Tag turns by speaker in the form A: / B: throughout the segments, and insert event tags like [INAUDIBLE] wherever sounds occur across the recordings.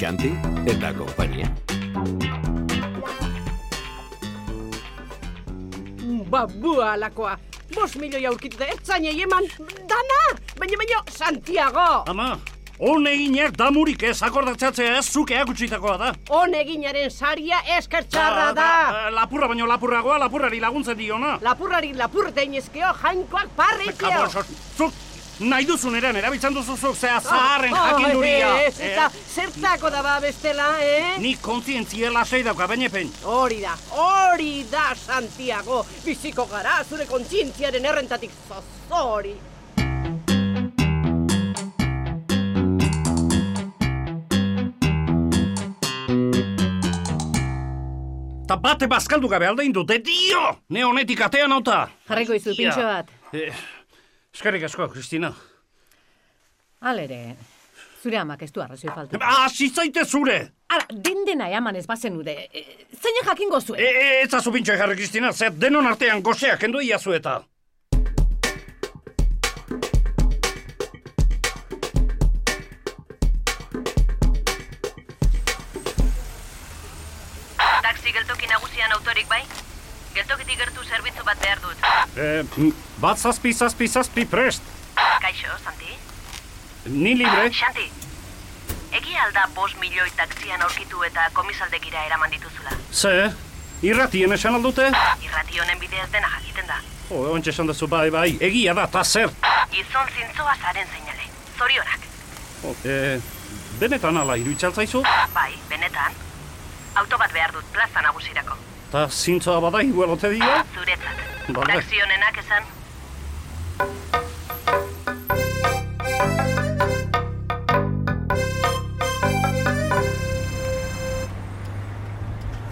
A: Xanti eta konpainia.
B: Babua alakoa. Bos milioi aurkituta ertzainei eman dana, baina baina Santiago.
C: Ama, hon eginak damurik ez akordatzatzea ez zuke akutsitakoa da.
B: On eginaren saria eskertxarra da.
C: Ah, Lapurra baino lapurragoa lapurrari laguntzen diona.
B: Lapurrari lapurte inezkeo jainkoak parrikio.
C: Kabo, sos- zuk nahi duzun eran erabiltzen duzu zuk zea zaharren jakinduria.
B: Oh, Ah, ez,
C: Eh,
B: eta zertako da ba bestela, eh?
C: Nik kontzientzia lasei dauka, baina pen.
B: Hori da, hori da, Santiago. Biziko gara, zure kontzientziaren errentatik zozori.
C: Ta bate bazkaldu gabe aldein dut, eh, dio! Ne honetik atean nauta.
D: Jarriko izu
C: Ia.
D: pintxo bat.
C: Eh, eskerrik asko, Kristina.
D: Halere, zure amak ez du arrazoi faltu.
C: Ah, zitzaite zure!
D: Ara, den dena eman ez bazen ude. E, zeinen jakingo
C: E,
D: zuen?
C: e, ez azu pintxo jarri, Kristina, ze denon artean goseak kendu iazu eta.
E: Taxi geltoki nagusian autorik bai? Geltokitik gertu zerbitzu bat behar dut.
C: Eh, m, bat zazpi, zazpi, zazpi prest.
E: Kaixo, Santi?
C: Ni libre.
E: Xanti, egia alda bos milioi taxian aurkitu eta komisaldekira eraman dituzula.
C: Ze, irratien esan aldute?
E: Irrati honen bidez dena jakiten da.
C: Oh, ontsa esan duzu, bai, bai, egia da, ta zer.
E: Gizon zintzoa zaren zeinale. Zorionak.
C: Oh, eh, benetan ala iruditzen zaizu?
E: Bai, benetan. Auto bat behar dut plaza nagusirako.
C: Ta zintzoa bada igual ote dio?
E: Zuretzat.
C: Bale.
E: Taxi honenak esan,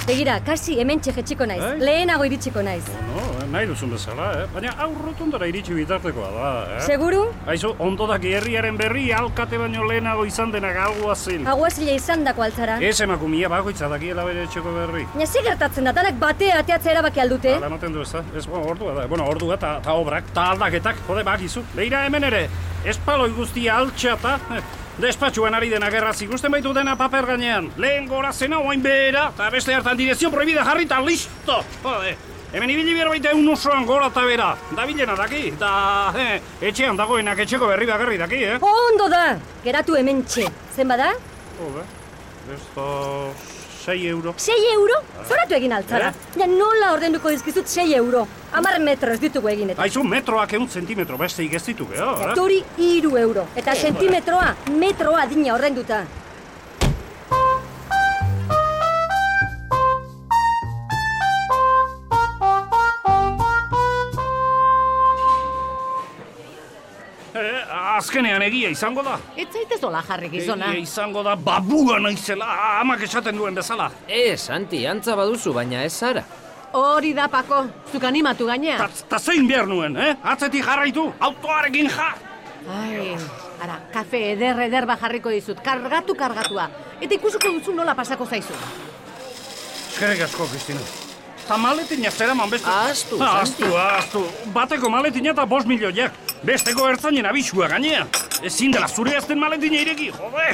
F: Begira, kasi hemen txegetxiko naiz.
C: Bai?
F: Lehenago iritsiko naiz.
C: No, eh, nahi duzun bezala, eh? Baina aurrotundara iritsi bitartekoa da, eh?
F: Seguru,
C: Aizu, ondodak herriaren berri alkate baino lehenago izan denak alguazil.
F: aguazile izan dako altzara.
C: Ez emakumia bakoitza dakiela bere etxeko berri.
F: Baina ze gertatzen da, danak bate ateatzea erabaki aldute.
C: Hala maten du ez da? Ez, bueno, ordua da. Bueno, ordua eta ta obrak, ta aldaketak, jode, bakizu. Beira hemen ere, espaloi guztia altxa eta... eh, Despatxuan ari dena gerraz ikusten baitu dena paper gainean. Lehen gora zena oain behera, eta beste hartan direzio prohibida jarri eta listo! Jode, hemen ibili behar baita egun osoan gora eta bera. Dabilena daki, eta eh, etxean dagoenak etxeko berri bakarri daki, eh?
F: Ondo da, geratu hemen txe. Zen bada?
C: Jode, ez da... 6 euro.
F: 6 euro? Zoratu egin altzara. Ja nola ordenduko dizkizut 6 euro. Amar metro ez ditugu egin eta.
C: Aizu metroak eun zentimetro beste igezitu geho, eh?
F: Turi iru euro. Eta sentimetroa, metroa dina ordenduta.
C: Eh, azkenean egia izango da.
D: Ez zaitez dola jarri
C: Eh,
D: gizona.
C: Egia izango da babua naizela, ah, amak esaten duen bezala.
G: Ez, Santi, antza baduzu, baina ez zara.
D: Hori da, Pako. Zuk animatu gainea.
C: Ta, ta zein behar nuen, eh? Atzetik jarraitu, autoarekin ja!
D: Ai, ara, kafe eder eder bajarriko dizut. Kargatu kargatua. Eta ikusuko duzu nola pasako zaizu.
C: Eskerrik asko, Kristina. Ta maletina zeraman beste...
G: Ahaztu,
C: Aztu, aztu. Bateko maletina eta bost milioiak. Besteko ertzainen abisua gainea. Ezin dela zure azten maletina ireki, jode!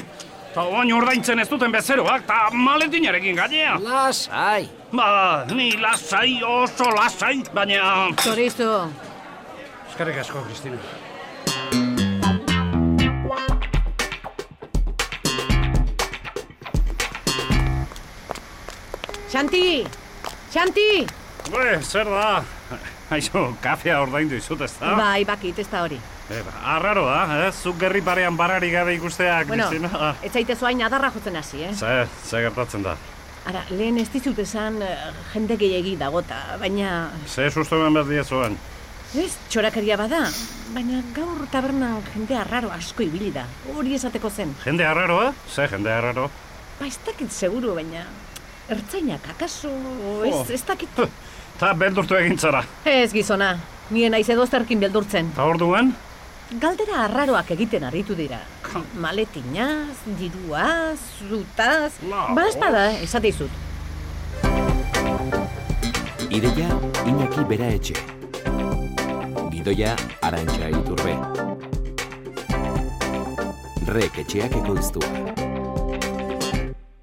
C: Ta oain ordaintzen ez duten bezeroak, ta maletinarekin gainea.
G: Lasai.
C: Ba, ni lasai, oso lasai, baina...
D: Zorizu.
C: Eskerrik asko, Kristina.
D: Xanti! Xanti!
C: Ue, Bai, zer da? Aizu, kafea ordaindu izut ez da?
D: Bai, bakit, ez da hori.
C: Eh, ba, arraro da, eh? Zuk gerri parean barari gabe ikustea,
D: Bueno,
C: Kristina. Ah,
D: ez zaitez oain adarra jotzen hasi, eh?
C: Ze, ze gertatzen da.
D: Ara, lehen ez dizut esan eh, jende gehiagi dagota, baina...
C: Ze susto ben bat diezuan.
D: Ez, txorakeria bada, baina gaur tabernan jende arraro asko ibili da. Hori esateko zen.
C: Jende arraroa? Ze jende arraro? [LAUGHS]
D: Ba, ez dakit seguru, baina... Ertzainak, akaso, ez,
C: Oh.
D: ez dakit... [LAUGHS]
C: Huh, Ta beldurtu egin zara.
D: Ez, gizona, nien aiz edozterkin beldurtzen.
C: Ta orduan?
D: Galdera arraroak egiten aritu dira. Maletinaz, diruaz, zutaz...
C: No.
D: Ba, ez bada, esate izut.
A: Ideia Iñaki Bera Etxe. Gidoia Arantxa Iturbe. Rek etxeak ekoiztua.